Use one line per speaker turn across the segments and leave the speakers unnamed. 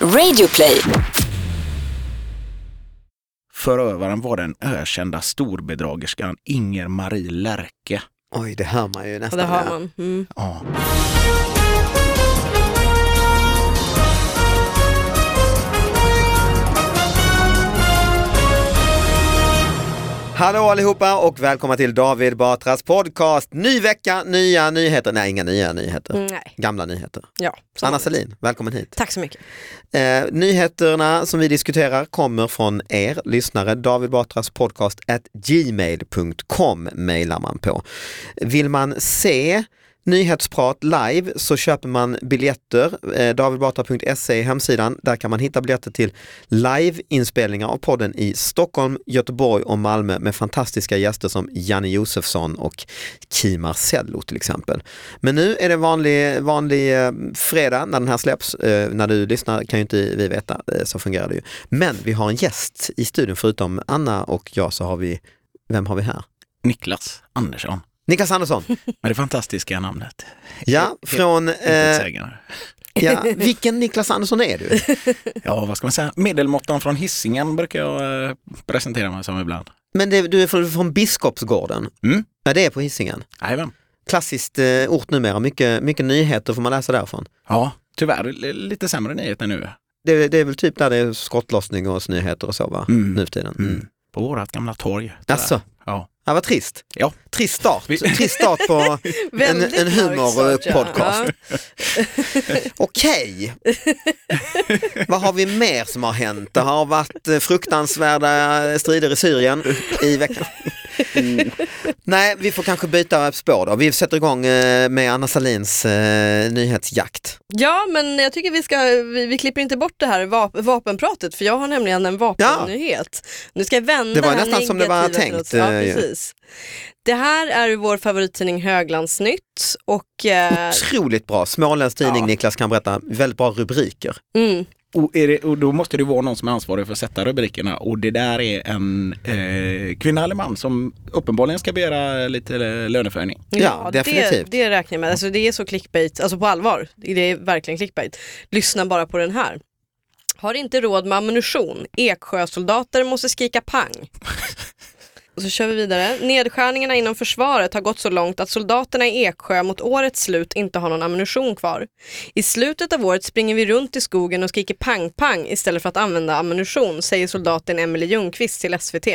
Radioplay.
Förövaren var den ökända storbedragerskan Inger-Marie Lärke.
Oj, det hör man ju
Och
nästan.
det har
ja.
man. Mm.
Ja.
Hallå allihopa och välkomna till David Batras podcast. Ny vecka, nya nyheter. Nej, inga nya nyheter.
Mm, Nej,
Gamla nyheter.
ja. så
Anna
var det.
Selin, välkommen hit.
Tack så mycket.
Eh, nyheterna som vi diskuterar kommer från er lyssnare. David Batras podcast at gmail.com mejlar man på. Vill man se Nyhetsprat live så köper man biljetter. Eh, Davidbatra.se är hemsidan. Där kan man hitta biljetter till liveinspelningar av podden i Stockholm, Göteborg och Malmö med fantastiska gäster som Janne Josefsson och Kim Marcello till exempel. Men nu är det vanlig, vanlig eh, fredag när den här släpps. Eh, när du lyssnar kan ju inte vi veta, eh, så fungerar det ju. Men vi har en gäst i studion förutom Anna och jag så har vi, vem har vi här?
Niklas Andersson,
Niklas Andersson,
med det fantastiska namnet.
ja, från, eh,
Intetsägande.
ja, vilken Niklas Andersson är du?
Ja, vad ska man säga? Medelmåttan från Hisingen brukar jag eh, presentera mig som ibland.
Men det, du är från, från Biskopsgården?
Mm.
Ja, det är på Hisingen.
Jajamän.
Klassiskt eh, ort numera, mycket, mycket nyheter får man läsa därifrån.
Ja, tyvärr li- lite sämre nyheter nu.
Det, det är väl typ där det är skottlossning och nyheter och så va,
Mm.
nu för tiden. Mm.
Mm. På vårat gamla torg.
Alltså,
Ja.
ja, vad trist.
Ja.
Trist start,
Vi-
trist start på en,
Väldigt
en
mörk sort, ja.
humorpodcast. Okej, vad har vi mer som har hänt? Det har varit eh, fruktansvärda strider i Syrien i veckan. Nej, vi får kanske byta spår då. Vi sätter igång eh, med Anna Salins eh, nyhetsjakt.
Ja, men jag tycker vi ska, vi, vi klipper inte bort det här vap, vapenpratet för jag har nämligen en vapennyhet. Nu ska jag vända
Det var
här
nästan som det var
negativa till
tänkt,
något- Ja,
eh, ju.
precis. Det här är vår favorittidning Höglandsnytt och eh,
Otroligt bra, småländsk tidning
Ja.
Niklas kan berätta, väldigt bra rubriker.
mm,
Och, är det, och då måste det vara någon som är ansvarig för att sätta rubrikerna och det där är en eh, kvinna eller man som uppenbarligen ska begära lite eh, löneförhöjning.
Ja,
det,
definitivt.
det räknar jag med. Alltså, det är så clickbait, alltså på allvar. Det är verkligen clickbait. Lyssna bara på den här. Har inte råd med ammunition. Eksjösoldater måste skrika pang. Och så kör vi vidare. Nedskärningarna inom försvaret har gått så långt att soldaterna i Eksjö mot årets slut inte har någon ammunition kvar. I slutet av året springer vi runt i skogen och skriker pang-pang istället för att använda ammunition, säger soldaten Emily Ljungqvist till SVT.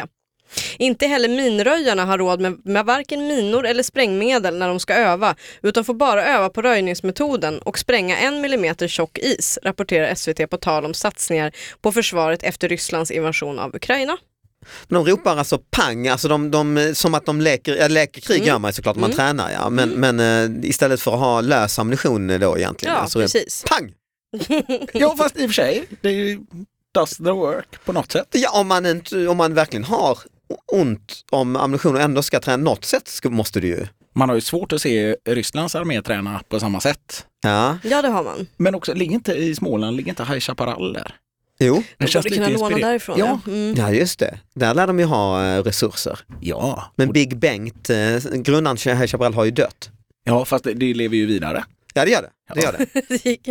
Inte heller minröjarna har råd med, med varken minor eller sprängmedel när de ska öva utan får bara öva på röjningsmetoden och spränga en millimeter tjock is, rapporterar SVT på tal om satsningar på försvaret efter Rysslands invasion av Ukraina.
De ropar alltså pang, alltså de, de, som att de leker, ja, leker krig
Mm.
gör man ju såklart när man tränar ja, men, men eh, istället för att ha lös ammunition då egentligen.
Ja,
alltså,
precis.
Pang!
Ja, fast i och för sig, det är ju- does the work på något sätt.
Ja, om, man inte, om man verkligen har ont om ammunition och ändå ska träna något sätt ska, måste du ju.
Man har ju svårt att se Rysslands armé träna på samma sätt.
Ja,
Ja, det har man.
Men också, ligger inte i Småland, ligger inte High Chaparral där?
jo.
Det
borde kunna låna
inspirerande.
därifrån.
Ja,
ja. Mm.
Ja just det, där lär de ju ha eh, resurser.
ja.
Men Big Bengt, eh, grundaren till High Chaparral har ju dött.
ja fast det, det lever ju vidare.
Ja det gör det. det, gör det.
Det gick-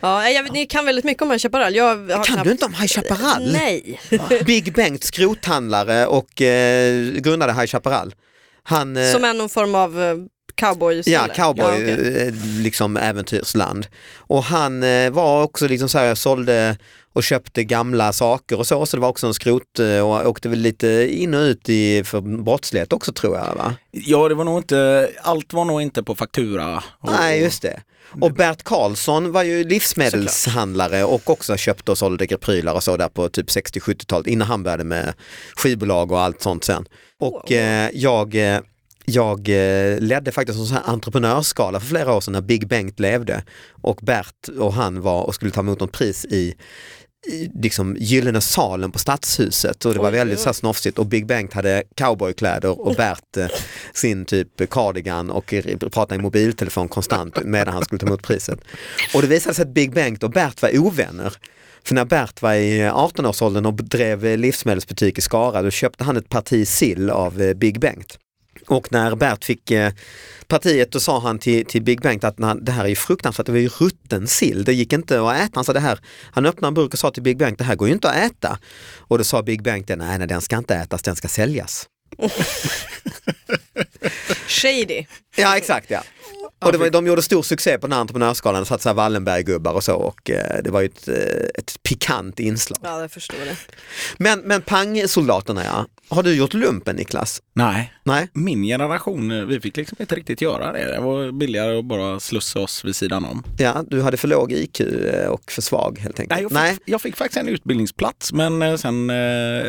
ja, jag, ni kan väldigt mycket om High Chaparral. Jag har
Kan
knappt-
du inte om High Chaparral?
Nej.
Big Bengt, skrothandlare och eh, grundade High Chaparral. Han, eh,
Som är någon form av eh, cowboy
Ja, cowboy,
Ja, okej.
eh, liksom äventyrsland. Och han eh, var också liksom så här, sålde och köpte gamla saker och så, så det var också en skrot eh, och åkte väl lite in och ut i, för brottslighet också tror jag va?
Ja, det var nog inte, allt var nog inte på faktura. Och,
Nej, just det. Och Bert Karlsson var ju livsmedelshandlare och också köpte och sålde prylar och så där på typ 60-70-talet innan han började med skivbolag och allt sånt sen. Och
Wow.
eh, jag, eh, jag eh, ledde faktiskt en sån här entreprenörsskala för flera år sedan när Big Bengt levde och Bert och han var och skulle ta emot något pris i i liksom gyllene salen på stadshuset och det var
Oj,
väldigt
oj.
så här snofsigt och Big Bengt hade cowboykläder och Bert eh, sin typ cardigan och r- pratade i mobiltelefon konstant medan han skulle ta emot priset. Och det visade sig att Big Bengt och Bert var ovänner. För när Bert var i 18-årsåldern och drev eh, livsmedelsbutik i Skara då köpte han ett parti sill av eh, Big Bengt. Och när Bert fick eh, partiet då sa han till, till Big Bengt att "Nej, det här är ju fruktansvärt, det var ju rutten sill, det gick inte att äta. Han, sa, det här. han öppnade en burk och sa till Big Bengt, det här går ju inte att äta. Och då sa Big Bengt, nej, nej den ska inte ätas, den ska säljas.
Shady.
Ja exakt ja. Och det var, de gjorde stor succé på den här entreprenörsgalan, det satt så här Wallenberg-gubbar och så och eh, det var ju ett, eh, ett pikant inslag.
Ja, jag förstår det.
Men, men pangsoldaterna ja, har du gjort lumpen Niklas?
Nej,
Nej?
min generation, eh, vi fick liksom inte riktigt göra det. Det var billigare att bara slussa oss vid sidan om.
Ja, du hade för låg IQ eh, och för svag helt enkelt.
Nej, jag, fick, jag fick faktiskt en utbildningsplats men eh, sen eh,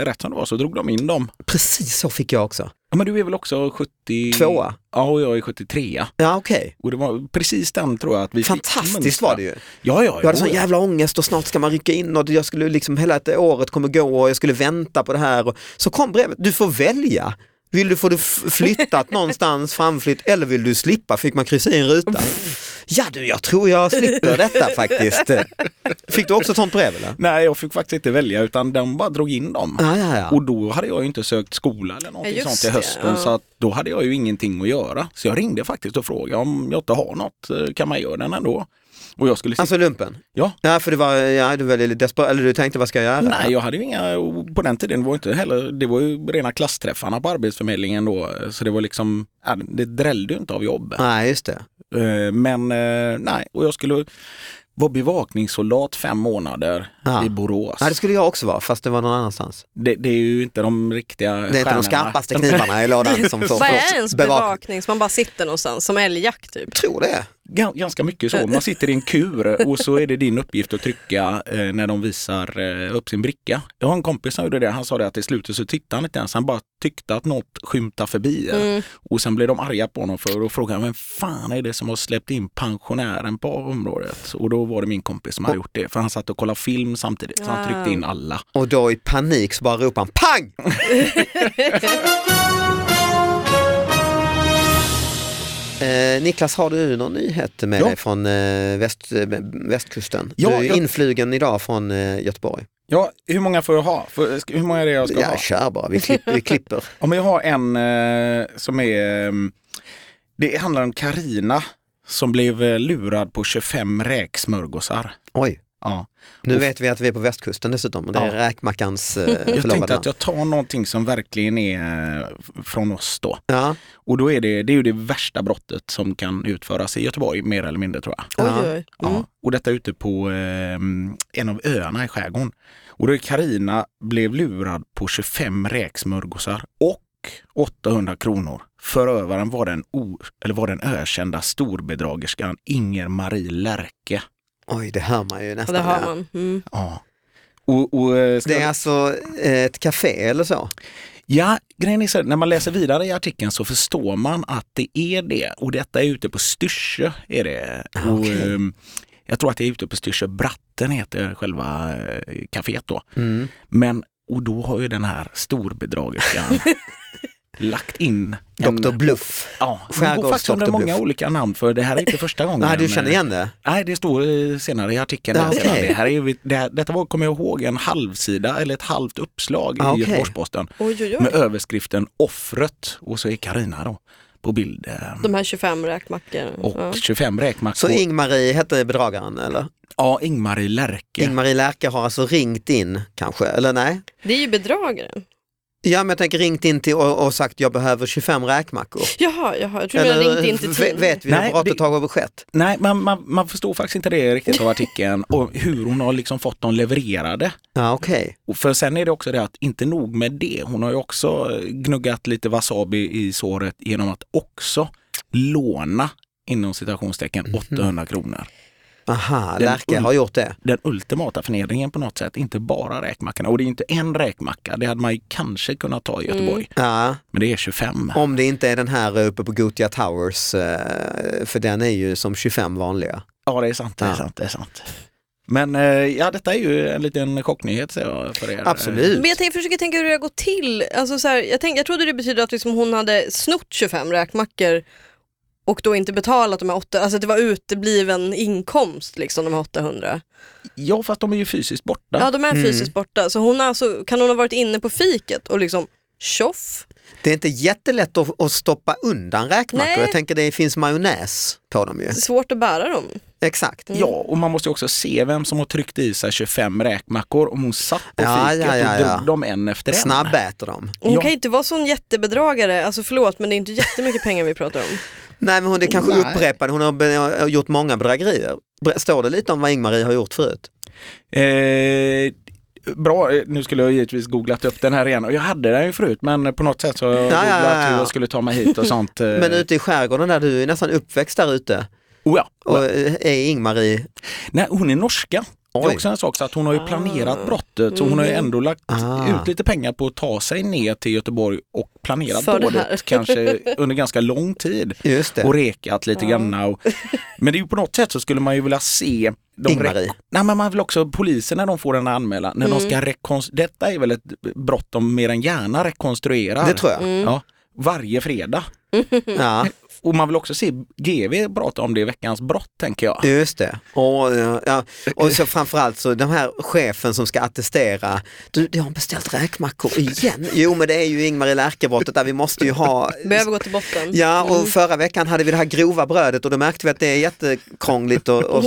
rätt som det var så drog de in dem.
precis så fick jag också.
Ja, men du är väl också 70...
Tvåa.
Ja, och jag är 73.
Ja okej,
Och det var precis den tror jag att vi fick
fantastiskt
mönstra.
var det ju.
Ja, ja,
Jag hade sån
ja.
jävla ångest och snart ska man rycka in och jag skulle liksom hela ett året kommer gå och jag skulle vänta på det här. Och, så kom brevet, du får välja. Vill du få det f- flyttat någonstans, framflytt eller vill du slippa? Fick man kryssa i en ruta? Ja du, jag tror jag slipper detta faktiskt. Fick du också ett sånt brev eller?
Nej, jag fick faktiskt inte välja utan de bara drog in dem.
Ja, ja, ja.
Och då hade jag ju inte sökt skola eller någonting
Ja, just
sånt till
det,
hösten
ja.
så att då hade jag ju ingenting att göra. Så jag ringde faktiskt och frågade om jag inte har något, eh, kan man göra den ändå? Och jag skulle...
Alltså lumpen?
ja. Mm.
Ja, för det var, ja, du var lite desperat, eller du tänkte vad ska jag göra?
Nej, jag hade ju inga, och på den tiden var det inte heller, det var ju rena klassträffarna på Arbetsförmedlingen då, så det var liksom, ja, det drällde ju inte av jobb.
Nej, just det.
Eh, Men eh, nej, och jag skulle vara bevakningssoldat fem månader
Ja.
i Borås.
Ja, det skulle jag också vara, fast det var någon annanstans.
Det, det är ju inte de riktiga
Det är inte de skarpaste knivarna i lådan som får
Vad är ens
bevaka-
bevakning som man bara sitter någonstans, som älgjakt typ?
Tror det.
Gan- Ganska mycket så. Man sitter i en kur och så är det din uppgift att trycka eh, när de visar eh, upp sin bricka. Jag har en kompis som gjorde det. Han sa det att i slutet så tittade han inte ens. Han bara tyckte att något skymtade förbi. Och sen blev de arga på honom för och frågade vem fan är det som har släppt in pensionären på området? Och då var det min kompis som hade gjort det. För han satt och kollade film samtidigt. Så han tryckte in alla.
Och då i panik så bara ropar han pang! Eh, Niklas, har du någon nyhet med
Ja.
dig från eh, väst, eh, västkusten?
Ja,
du är
jag-
influgen idag från eh, Göteborg.
Ja, hur många får jag ha? Får- ska- Hur många är det jag ska ha?
Ja, kör bara, vi, klipp, vi klipper.
Om jag har en eh, som är... eh, Det handlar om Karina som blev eh, lurad på 25 räksmörgåsar.
Oj,
Ja.
nu
Och-
vet vi att vi är på västkusten dessutom och det är
Ja.
räkmackans eh,
Jag
förlovade
tänkte
namn.
att jag tar någonting som verkligen är eh, f- från oss då.
Ja,
Och då är det, det är ju det värsta brottet som kan utföras i Göteborg, mer eller mindre tror jag.
Oj,
Ja.
oj, oj.
Ja.
Mm.
Och detta ute på eh, en av öarna i skärgården. Och då är Karina blev lurad på 25 räksmörgåsar och 800 kronor. Förövaren var den, o, eller var den ökända storbedragerskan Inger-Marie Lärke.
oj det hör man ju
Ja,
nästan.
det har
ja.
man. Mm.
Ja. Och, och, eh, ska-
Det är alltså eh, ett café eller så?
Ja, grejen är så här, när man läser vidare i artikeln så förstår man att det är det. Och detta är ute på Styrsö. Är det. Och,
Ah, okej.
ehm, jag tror att det är ute på Styrsö. Bratten heter själva eh, kaféet då.
Mm.
Men, och då har ju den här storbedragerskan lagt in en-
Dr Bluff.
Ja, det går
Skärgårds
faktiskt under
Dr. Bluff.
många olika namn för det här är inte första gången.
Nej, du känner igen det?
Nej, det står eh, senare i artikeln.
Ja,
där sedan.
okej.
Det här är, ju- det här, detta var, kommer jag ihåg, en halvsida eller ett halvt uppslag
Ja,
i
okej.
Göteborgs-Posten
Oj, oj,
med
oj.
överskriften Offret och så är Karina då på bild eh,
De här 25 räkmackor.
och
Ja.
25 räkmackor.
Så Ingmarie hette bedragaren eller?
ja, Ingmarie Lärke.
Ingmarie Lärke har alltså ringt in kanske, eller nej?
Det är ju bedragare.
Ja men jag tänker ringt in till och, och sagt jag behöver 25 räkmackor.
Jaha, jaha, jag tror
Eller,
jag ringde in till
v-
tidningen.
Vet vi
Nej,
när brottet
det-
har det... skett?
Nej, man, man, man förstår faktiskt inte det riktigt av artikeln och hur hon har liksom fått dem levererade.
Ja okej.
Och för sen är det också det att inte nog med det, hon har ju också eh, gnuggat lite wasabi i såret genom att också låna inom
Mhm.
citationstecken 800 kronor.
Aha,
Den
Lärke
un-
har gjort det.
Den ultimata förnedringen på något sätt, inte bara räkmackorna. Och det är inte en räkmacka, det hade man ju kanske kunnat ta i Göteborg.
Mm. Ja,
Men det är 25.
om det inte är den här eh, uppe på Gothia Towers, eh, för den är ju som 25 vanliga.
Ja, det är sant. Det är
Ja.
sant, det är sant. Men eh, ja, detta är ju en liten chocknyhet säger jag för er. Eh,
Absolut.
Men jag tänker, försöker tänka hur det har gått till. Alltså så här, jag, tänk, jag trodde det betyder att liksom hon hade snott 25 räkmackor och då inte betalat de här 800, alltså det var utebliven inkomst liksom de här 800.
Ja, fast de är ju fysiskt borta.
Mm. Ja de är fysiskt borta, så hon har alltså, kan hon ha varit inne på fiket och liksom tjoff.
Det är inte jättelätt att, att stoppa undan räkmackor.
Nej.
Jag tänker det finns majonnäs på dem ju.
Svårt att bära dem.
Exakt.
Ja, och man måste ju också se vem som har tryckt i sig 25 räkmackor om hon satt på
Ja,
fiket
ja, ja,
och drog
ja.
dem en efter en.
Snabbäter dem.
Och Hon
Ja.
kan inte vara sån jättebedragare, alltså förlåt men det är inte jättemycket pengar vi pratar om.
Nej men hon är kanske
Oh, Nej.
upprepad, hon har be- har gjort många bedrägerier. Bre- Står det lite om vad Ingmarie har gjort förut?
Eh, bra, eh, nu skulle jag givetvis googlat upp den här igen och jag hade den ju förut men på något sätt så har jag
Ja, ja,
googlat
ja, ja.
hur jag skulle ta mig hit och sånt. eh.
Men ute i skärgården där, du är nästan uppväxt där ute
oh, ja.
och eh, är Ingmarie,
Nej, hon är norska. Det
Oj.
är också en sak så att hon har ju planerat brottet och hon har ju ändå lagt
Ah.
ut lite pengar på att ta sig ner till Göteborg och planerat
För det här.
dådet kanske under ganska lång tid.
just
och
det,
rekat lite grann. Och, men det är ju på något sätt så skulle man ju vilja se de
Ingmarie. Mm.
Nej men man vill också, polisen när de får en anmälan, när de ska rekonstruera, detta är väl ett brott de mer än gärna rekonstruerar.
Det tror jag.
Ja, varje fredag.
Ja,
Och man vill också se GV prata om det i veckans brott tänker jag.
just det. Och, ja, ja. och så framförallt så den här chefen som ska attestera, du jag har beställt räkmackor igen. Jo men det är ju Ingmarie Lärke-brottet där vi måste ju ha
Behöver gå till botten.
Ja, och förra veckan hade vi det här grova brödet och då märkte vi att det är jättekrångligt. Och, och,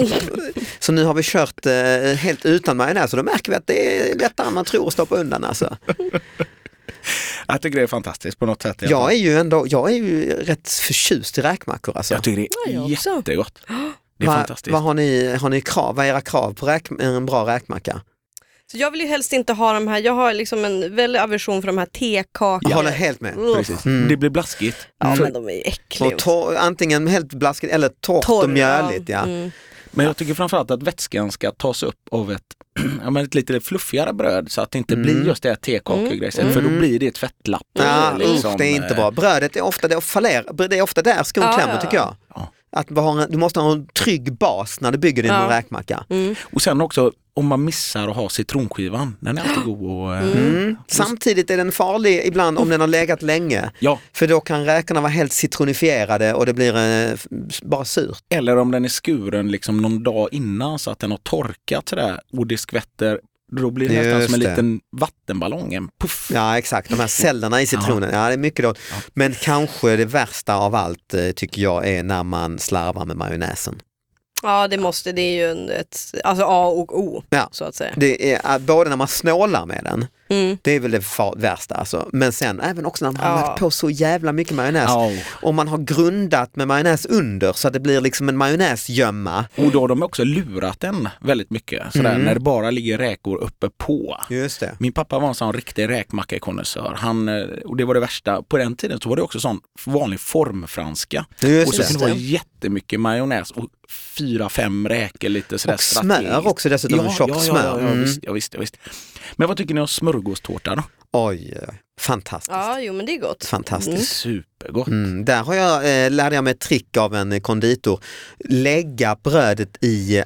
så nu har vi kört eh, helt utan majonnäs och då märker vi att det är lättare än man tror att stoppa undan. Alltså.
Jag tycker det är fantastiskt på något sätt. i alla
Jag
fall.
är ju ändå, jag är ju rätt förtjust i räkmackor. Alltså.
jag tycker det
Ja,
är
jag också.
jättegott. Det är
Vad-
fantastiskt.
Vad har ni, har ni krav, vad är era krav på räk, en bra räkmacka?
Så jag vill ju helst inte ha de här, jag har liksom en väldig aversion för de här
Jag
tekakorna.
håller helt med.
Uff.
Precis.
Mm.
Det blir blaskigt.
Ja men de är ju äckliga.
Och torr, antingen helt blaskigt eller torrt och
Torra.
mjöligt. Ja.
Mm.
Men jag tycker framförallt att vätskan ska tas upp av ett, ja, men ett lite fluffigare bröd så att det inte blir just det här tekakegrejen för då blir det ett fettlapp.
Mm. Ja,
eh, liksom,
usch, det är inte
eh,
bra. Brödet är ofta, det faller, det är ofta där skon
Ja,
klämmer
ja.
tycker jag.
Ja.
Att du, har en, du måste ha en trygg bas när du bygger din
Ja.
räkmacka.
Och sen också om man missar att ha citronskivan, den är alltid god. Och, eh,
Mm. Samtidigt är den farlig ibland om den har legat länge.
Ja,
För då kan räkorna vara helt citronifierade och det blir eh, f- bara surt.
eller om den är skuren liksom någon dag innan så att den har torkat sådär och det skvätter, då blir det nästan
Just
som en
det.
liten vattenballong. En puff.
Ja exakt, de här cellerna i citronen. Ja, det är mycket dåligt. Men kanske det värsta av allt eh, tycker jag är när man slarvar med majonnäsen.
Ja det måste, det är ju en, ett, alltså A och O
Ja.
så att säga.
Det är, eh, både när man snålar med den,
Mm.
det är väl det far- värsta alltså. Men sen även också när man har
Ja.
lagt på så jävla mycket majonnäs.
Ja.
Om man har grundat med majonnäs under så att det blir liksom en majonnäsgömma.
Och då har de också lurat den väldigt mycket, sådär,
Mm.
när det bara ligger räkor uppe på.
Just det.
Min pappa var en sån riktig räkmackakonnässör. Han, eh, och det var det värsta. På den tiden så var det också sån vanlig formfranska.
Just
och så
det.
kunde det vara jättemycket majonnäs och fyra, fem räkor lite sådär
Och smör
strategiskt.
också dessutom, en tjockt
ja,
smör.
Ja, ja, ja,
Mm.
visst, ja, visst, ja, visst. Men vad tycker ni om smörgåstårta då?
Mm. Oj, fantastiskt.
Ja jo men det är gott.
Fantastiskt.
Supergott.
Mm, där har jag, eh, lärde jag mig ett trick av en eh, konditor. Lägga brödet i eh,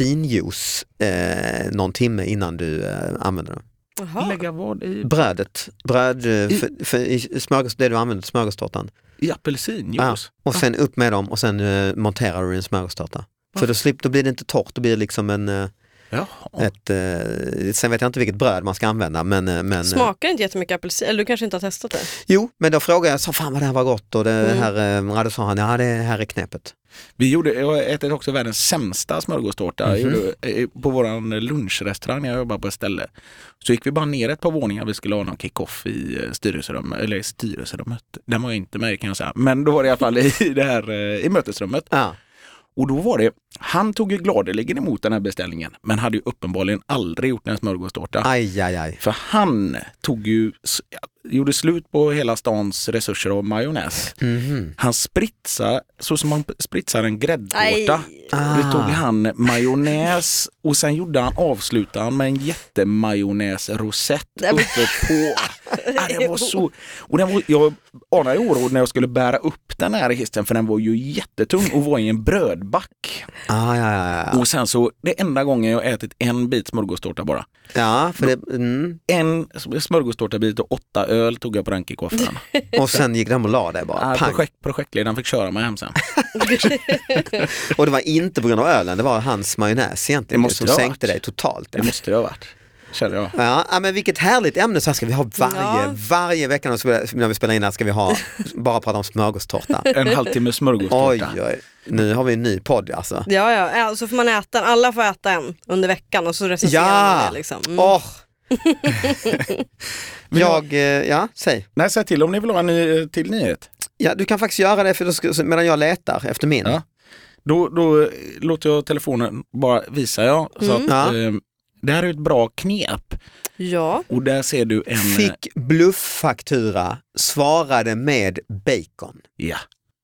apelsinjuice eh, någon timme innan du eh, använder det.
Jaha.
Lägga vad i,
Brödet, bröd, eh, för, för, i smörgås, det du använder till smörgåstårtan.
i apelsinjuice?
Och sen upp med dem och sen eh, monterar du din smörgåstårta. För då, slipper, då blir det inte torrt, då blir det liksom en, eh,
Jaha.
ett, eh, sen vet jag inte vilket bröd man ska använda men, eh, men eh,
Smakar inte jättemycket apelsin, eller du kanske inte har testat det?
Jo, men då frågade jag, så fan vad det här var gott och det här, eh, ja, då sa han, ja det här är knepet.
Vi gjorde, jag ätit också världens sämsta smörgåstårta Jag gjorde, eh, på våran lunchrestaurang när jag jobbade på ett ställe. Så gick vi bara ner ett par våningar, vi skulle ha någon kick-off i eh, styrelserummet, eller i styrelserummet, den var jag inte med i, kan jag säga. Men då var det i alla fall i, det här, eh, i mötesrummet.
Ja.
Och då var det, han tog ju gladeligen emot den här beställningen, men hade ju uppenbarligen aldrig gjort en smörgåstårta.
Aj, aj, aj.
För han tog ju, s- gjorde slut på hela stans resurser av majonnäs.
Mhm.
Han spritsade, så som man spritsar en gräddtårta.
Nej.
Ah.
Då tog han majonnäs och sen gjorde han, avslutade han med en jättemajonnäsrosett
Nej, men-
uppe på. Ja, det var så, och den var, jag anade ju oråd när jag skulle bära upp den här hissen för den var ju jättetung och var i en brödback.
Aj, aj, aj, aj.
Och sen så, det enda gången jag ätit en bit smörgåstårta bara.
Ja, för det, mm.
En smörgåstårtabit och åtta öl tog jag på den kick-offen.
Och sen gick de och la det bara.
Ah,
Pang.
projekt, projektledaren fick köra mig hem sen.
Och det var inte på grund av ölen, det var hans majonnäs egentligen
Det
det
måste
som
det ha
sänkte
varit.
dig totalt.
Det måste det ha varit. känner jag.
Ja, ja, men vilket härligt ämne, så här ska vi ha varje,
Ja.
varje vecka när vi- när vi spelar in här ska vi ha, bara prata om smörgåstårta.
En halvtimme
Oj,
smörgåstårta.
oj, nu har vi en ny podd alltså.
Ja, ja. Äh, Så får man äta den. Alla får äta en under veckan och så recenserar
Ja.
man det. Liksom. Mm.
Åh! jag, eh, ja, säg.
Nej, säg till om ni vill ha en ny, eh, till nyhet.
Ja, du kan faktiskt göra det för då ska, så- medan jag letar efter min.
Ja. Då, då eh, låter jag telefonen bara visa jag. Så
Mm.
att,
Ja.
eh, det här är ett bra knep
Ja.
och där ser du en... eh,
Fick blufffaktura, svarade med bacon.
Ja,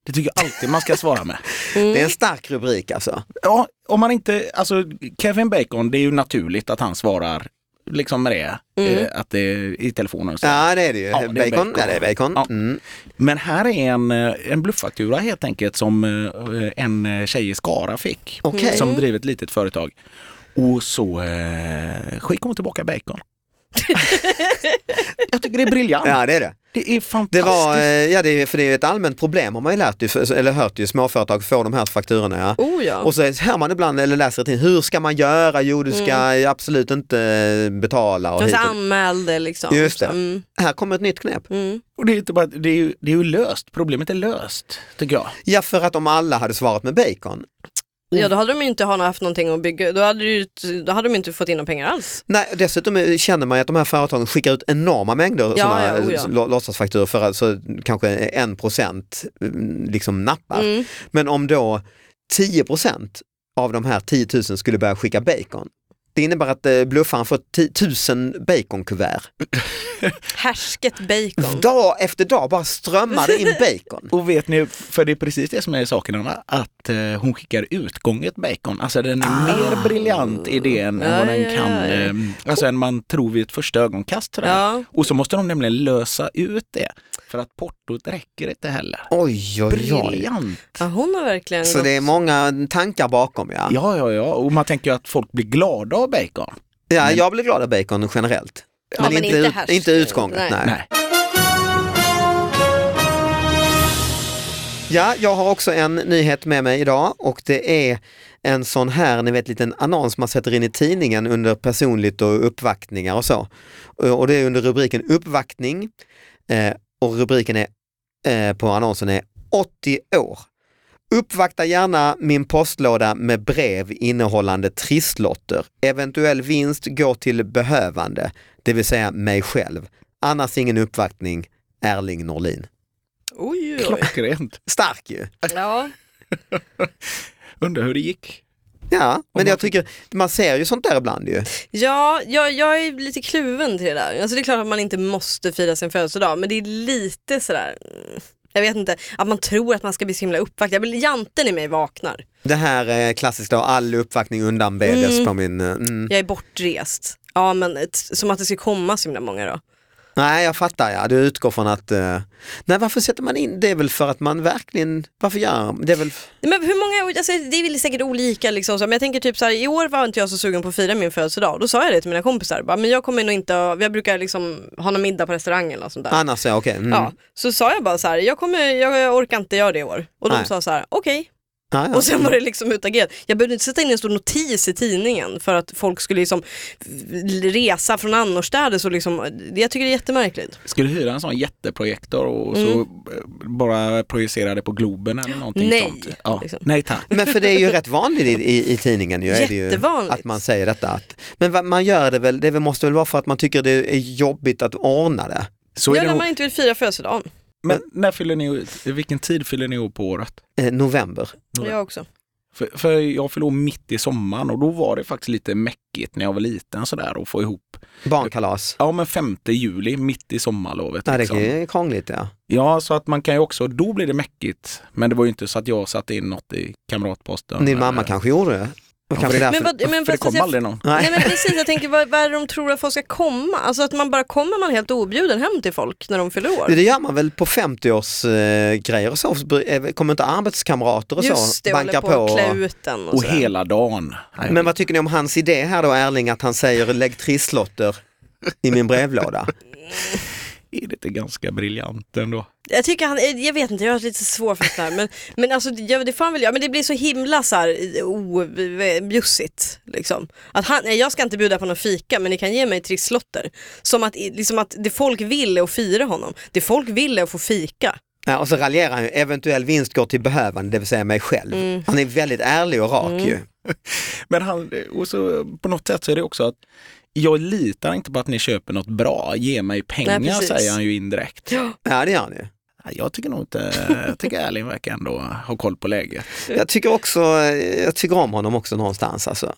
det tycker jag alltid man ska svara med.
Det
Mm.
är en stark rubrik alltså.
Ja, om man inte, alltså Kevin Bacon, det är ju naturligt att han svarar liksom med det, eh, att det är i telefonen. och Så.
Ja, det är det ju.
Ja, det är bacon.
bacon. Ja, det är bacon.
Ja.
Mm.
Men här är en, eh, en blufffaktura helt enkelt som eh, en eh, tjej i Skara fick,
Okej.
som driver ett litet företag. Och så eh, skickade hon tillbaka bacon. jag tycker det är briljant.
Ja, det är det.
Det är
Det
fantastiskt.
var, eh, ja, det är, för det är ju ett allmänt problem har man ju lärt ju, för- eller hört ju, småföretag får de här fakturorna. Ja.
Oh ja.
Och så hör man ibland, eller läser till, hur ska man göra? Jo, du ska absolut inte eh, betala. Och
Och
hit
så
och-
anmälde liksom.
Just det.
Mm,
här kommer ett nytt knep.
mm.
Och det, är inte bara, det, är ju, det är ju löst, problemet är löst tycker jag.
Ja, för att om alla hade svarat med bacon.
Ja då hade de ju inte ha- haft någonting att bygga, då hade, det ju, då hade de inte fått in några pengar alls.
Nej, dessutom eh, känner man ju att de här företagen skickar ut enorma mängder
Ja,
sådana
ja, oh ja.
eh, lå- låtsasfakturor för att så kanske en procent liksom nappar.
Mm.
Men om då 10 procent av de här 10 000 skulle börja skicka bacon, det innebär att eh, bluffaren får 10 000 baconkuvert.
Härsket bacon.
Dag efter dag bara strömmar det in bacon.
Och vet ni, för det är precis det som är saken Anna, att eh, hon skickar utgånget bacon. Alltså den är mer briljant idén än
Ja,
vad den
Ah. ja, ja,
kan,
ja.
eh, alltså än man tror vid ett första ögonkast. sådär.
Ja.
Och så måste de nämligen lösa ut det, för att portot räcker inte heller.
Oj, oj, oj.
Briljant!
ja, hon har verkligen
Så det är många tankar bakom
Ah.
ja.
Ja, ja, ja, och man tänker ju att folk blir glada av bacon.
Ja, jag blir glad av bacon generellt.
Ja, men inte
ut-
härs.
inte utgånget. Nej.
Nej.
Nej.
Ja, jag har också en nyhet med mig idag och det är en sån här, ni vet, liten annons man sätter in i tidningen under personligt och uppvaktningar och så. Och det är under rubriken uppvaktning eh, och rubriken är, eh, på annonsen är 80 år. Uppvakta gärna min postlåda med brev innehållande trisslotter. Eventuell vinst går till behövande, det vill säga mig själv. Annars ingen uppvaktning, Erling Norlin.
Oj, oj, oj.
Klockrent.
Stark ju!
Ja.
Undrar hur det gick.
Ja, men
man
jag tycker, man ser ju sånt där ibland ju.
Ja, jag, jag är lite kluven till det där. Alltså det är klart att man inte måste fira sin födelsedag, men det är lite sådär, mm, jag vet inte, att man tror att man ska bli så himla uppvaktad. Jag blir- Janten i mig vaknar.
Det här är klassiskt då, all uppvaktning undanbedes på min... eh, Mm.
Jag är bortrest. Ja men ett, som att det ska komma så himla många då.
Nej, jag fattar ja. Du utgår från att... eh, Nej, varför sätter man in? Det är väl för att man verkligen... Varför gör man? Det är väl...
Men hur många, alltså, det är väl säkert olika liksom, så, men jag tänker typ så här, i år var inte jag så sugen på att fira min födelsedag. Då sa jag det till mina kompisar, bara, men jag kommer nog inte, att- jag brukar liksom ha någon middag på restaurangen eller något sånt där.
Annars ja, okej. Mm.
Ja, så sa jag bara så här, jag, kommer, jag, jag orkar inte göra det i år. Och de
Nej.
sa så här, okej.
Ja, ja.
Och sen var det liksom utagerat. Jag behövde inte sätta in en stor notis i tidningen för att folk skulle liksom resa från annorstädes och liksom, jag tycker det är jättemärkligt.
Skulle hyra en sån jätteprojektor och
Mm.
så eh, bara projicera det på Globen eller någonting
Nej,
sånt. Ja.
liksom.
Nej tack.
Men för det är ju rätt vanligt i, i, i tidningen ju, är det ju
Jättevanligt.
att man säger detta. Att, men vad- man gör det väl, det väl- måste väl vara för att man tycker det är jobbigt att ordna det.
Så är
ja,
det
när
nog.
man inte vill fira födelsedagen.
Men när fyller ni, vilken tid fyller ni år på året?
Eh, november.
Några-
Jag också.
För, för jag fyllde år mitt i sommaren och då var det faktiskt lite mäckigt när jag var liten sådär att få ihop.
Barnkalas.
Ja men 5 juli, mitt i sommarlovet.
Ja, det
liksom.
är krångligt ja.
Ja, så att man kan ju också, då blir det mäckigt. Men det var ju inte så att jag satte in något i kamratposten.
Din mamma
Eller-
kanske gjorde det. Och kanske därför...
Men vad, men
För det
fast
kom
jag,
aldrig någon.
Nej men precis, jag tänker vad, vad är det de tror att folk ska komma? Alltså att man bara kommer man helt objuden hem till folk när de fyller år.
Det gör man väl på 50-årsgrejer eh, grejer och så, så bry- eh, kommer inte arbetskamrater och
Just
så
det, håller
banka
på
på?
att klä
och-
ut den och,
Och
sådär.
hela dagen. Nej,
Men vad tycker ni om hans idé här då Erling, att han säger lägg trisslotter i min brevlåda?
är det inte ganska briljant ändå?
Jag tycker han, eh, jag vet inte, jag har lite svårt för det här men, men alltså ja, det får han väl göra, men det blir så himla så här eh, objussigt. Liksom. Att han, nej, jag ska inte bjuda på någon fika men ni kan ge mig trisslotter. Som att, liksom att det folk vill är att fira honom, det folk vill är att få fika.
Ja, och så raljerar han ju, eventuell vinst går till behövande, det vill säga mig själv.
Mm.
Han är väldigt ärlig och rak ju.
Men han, och så på något sätt så är det också att jag litar inte på att ni köper något bra, ge mig pengar
Nej, precis.
säger han ju indirekt.
Ja, det gör han ju.
Nej, Jag tycker nog inte, jag tycker Erling verkar ändå ha koll på läget.
Jag tycker också, eh, jag tycker om honom också någonstans alltså.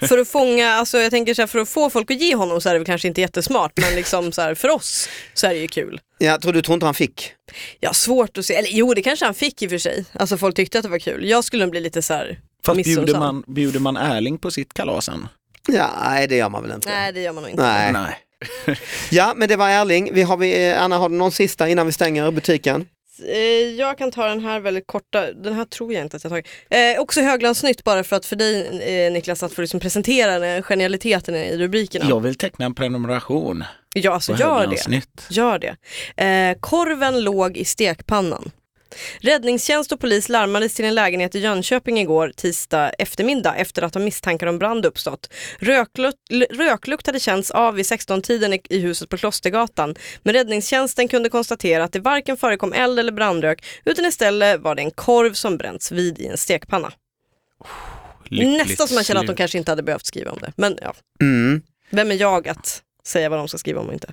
För att fånga, alltså jag tänker så här, för att få folk att ge honom så är det väl kanske inte jättesmart men liksom så här, för oss så är det ju kul.
Jag tror du tror inte han fick?
Jag har svårt att se, eller jo det kanske han fick i och för sig. Alltså folk tyckte att det var kul. Jag skulle nog bli lite så här
Fast
missunnsam.
bjuder man, bjuder man Erling på sitt kalas sen?
Ja, nej det gör man väl inte.
Nej det gör man nog inte.
Nej.
Nej.
Ja, men det var Erling. Vi har vi, eh, Anna, har du någon sista innan vi stänger butiken?
Eh, Jag kan ta den här väldigt korta, den här tror jag inte att jag tagit. Eh, också höglandsnytt bara för att för dig eh, Niklas att få liksom presentera den här genialiteten i rubrikerna.
Jag vill teckna en prenumeration
ja alltså
på
gör det.
Höglandsnytt.
Gör det. Eh, korven låg i stekpannan. Räddningstjänst och polis larmades till en lägenhet i Jönköping igår tisdag eftermiddag efter att de misstankar om brand uppstått. Röklukt, l- röklukt hade känts av vid 16-tiden i- i huset på Klostergatan men räddningstjänsten kunde konstatera att det varken förekom eld eller brandrök utan istället var det en korv som bränts vid i en stekpanna.
Lyckligt
Nästan som man känner att de
slut.
kanske inte hade behövt skriva om det. Men ja,
Mm.
vem är jag att säga vad de ska skriva om och inte?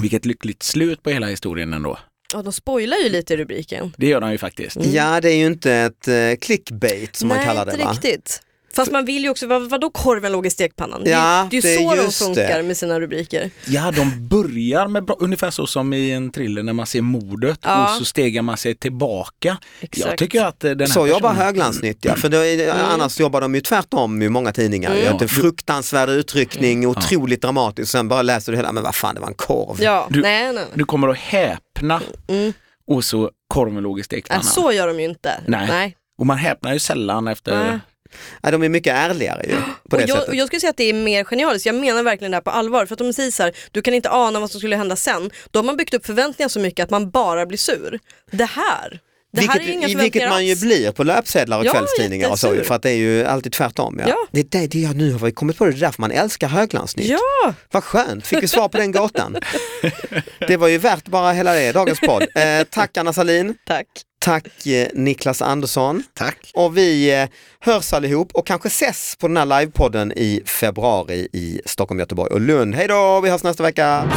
Vilket lyckligt slut på hela historien ändå.
Ja, de spoilar ju lite i rubriken.
Det gör de ju faktiskt.
Mm.
Ja, det är ju inte ett eh, clickbait som
Nej,
man kallar det
inte
va?
riktigt. Fast man vill ju också, vad, vadå korven låg i stekpannan?
Ja,
det, det
det
är
är
ju så de
just
funkar
det.
med sina rubriker.
Ja, de börjar med bra, ungefär så som i en thriller när man ser mordet
Ja.
och så stegar man sig tillbaka.
Exakt.
Jag tycker att eh, den här
Så jobbar
personen-
Höglandsnytt ja, för då är, det- annars jobbar de ju tvärtom i många tidningar.
Mm.
Mm. Att det är fruktansvärd utryckning, otroligt dramatiskt, sen bara läser du hela, men vad fan det var en korv.
Ja,
Du-
nej, nej. nej.
Du kommer att häpna
Mm.
och så korven låg i stekpannan.
Äh, så gör de ju inte.
Nej. Och man häpnar ju sällan efter...
Nej.
Ja, de är mycket ärligare ju, på det
och jag,
sättet.
och jag skulle säga att det är mer genialiskt, jag menar verkligen det här på allvar. För att de säger så här, du kan inte ana vad som skulle hända sen. Då har man byggt upp förväntningar så mycket att man bara blir sur. Det här, det här är ju inga
vilket,
förväntningar
vilket man ju
alls.
blir på löpsedlar och
Ja,
kvällstidningar och så ju,
jättesur.
för att det är ju alltid tvärtom. Ja.
Ja.
Det är det, det jag nu har kommit på, det är därför man älskar Höglandsnytt.
Ja,
Vad skönt, fick vi svar på den gåtan. Det var ju värt bara hela det, dagens podd. Eh, tack Anna Salin.
tack.
Tack eh, Niklas Andersson.
Tack.
Och vi eh, hörs allihop och kanske ses på den här livepodden i februari i Stockholm, Göteborg och Lund. Hej då, vi hörs nästa vecka.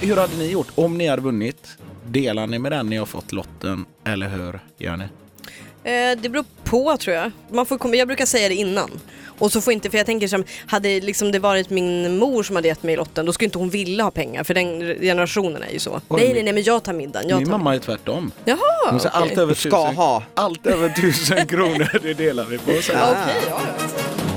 Hur hade ni gjort om ni hade vunnit? Delar ni med den ni har fått lotten eller hur gör ni?
Eh, det beror på tror jag. Man får komma, jag brukar säga det innan. Och så får inte, för jag tänker som, hade liksom det varit min mor som hade gett mig lotten, då skulle inte hon vilja ha pengar, för den generationen är ju så.
Oj,
nej,
min-
nej, nej, men jag tar middagen. Jag
Min
tar
mamma är tvärtom.
middagen. Jaha,
Hon säger
okej.
allt över
Ska
tusen,
ha.
allt över tusen kronor, det delar vi på. säger hon.
Okej, ja, ja.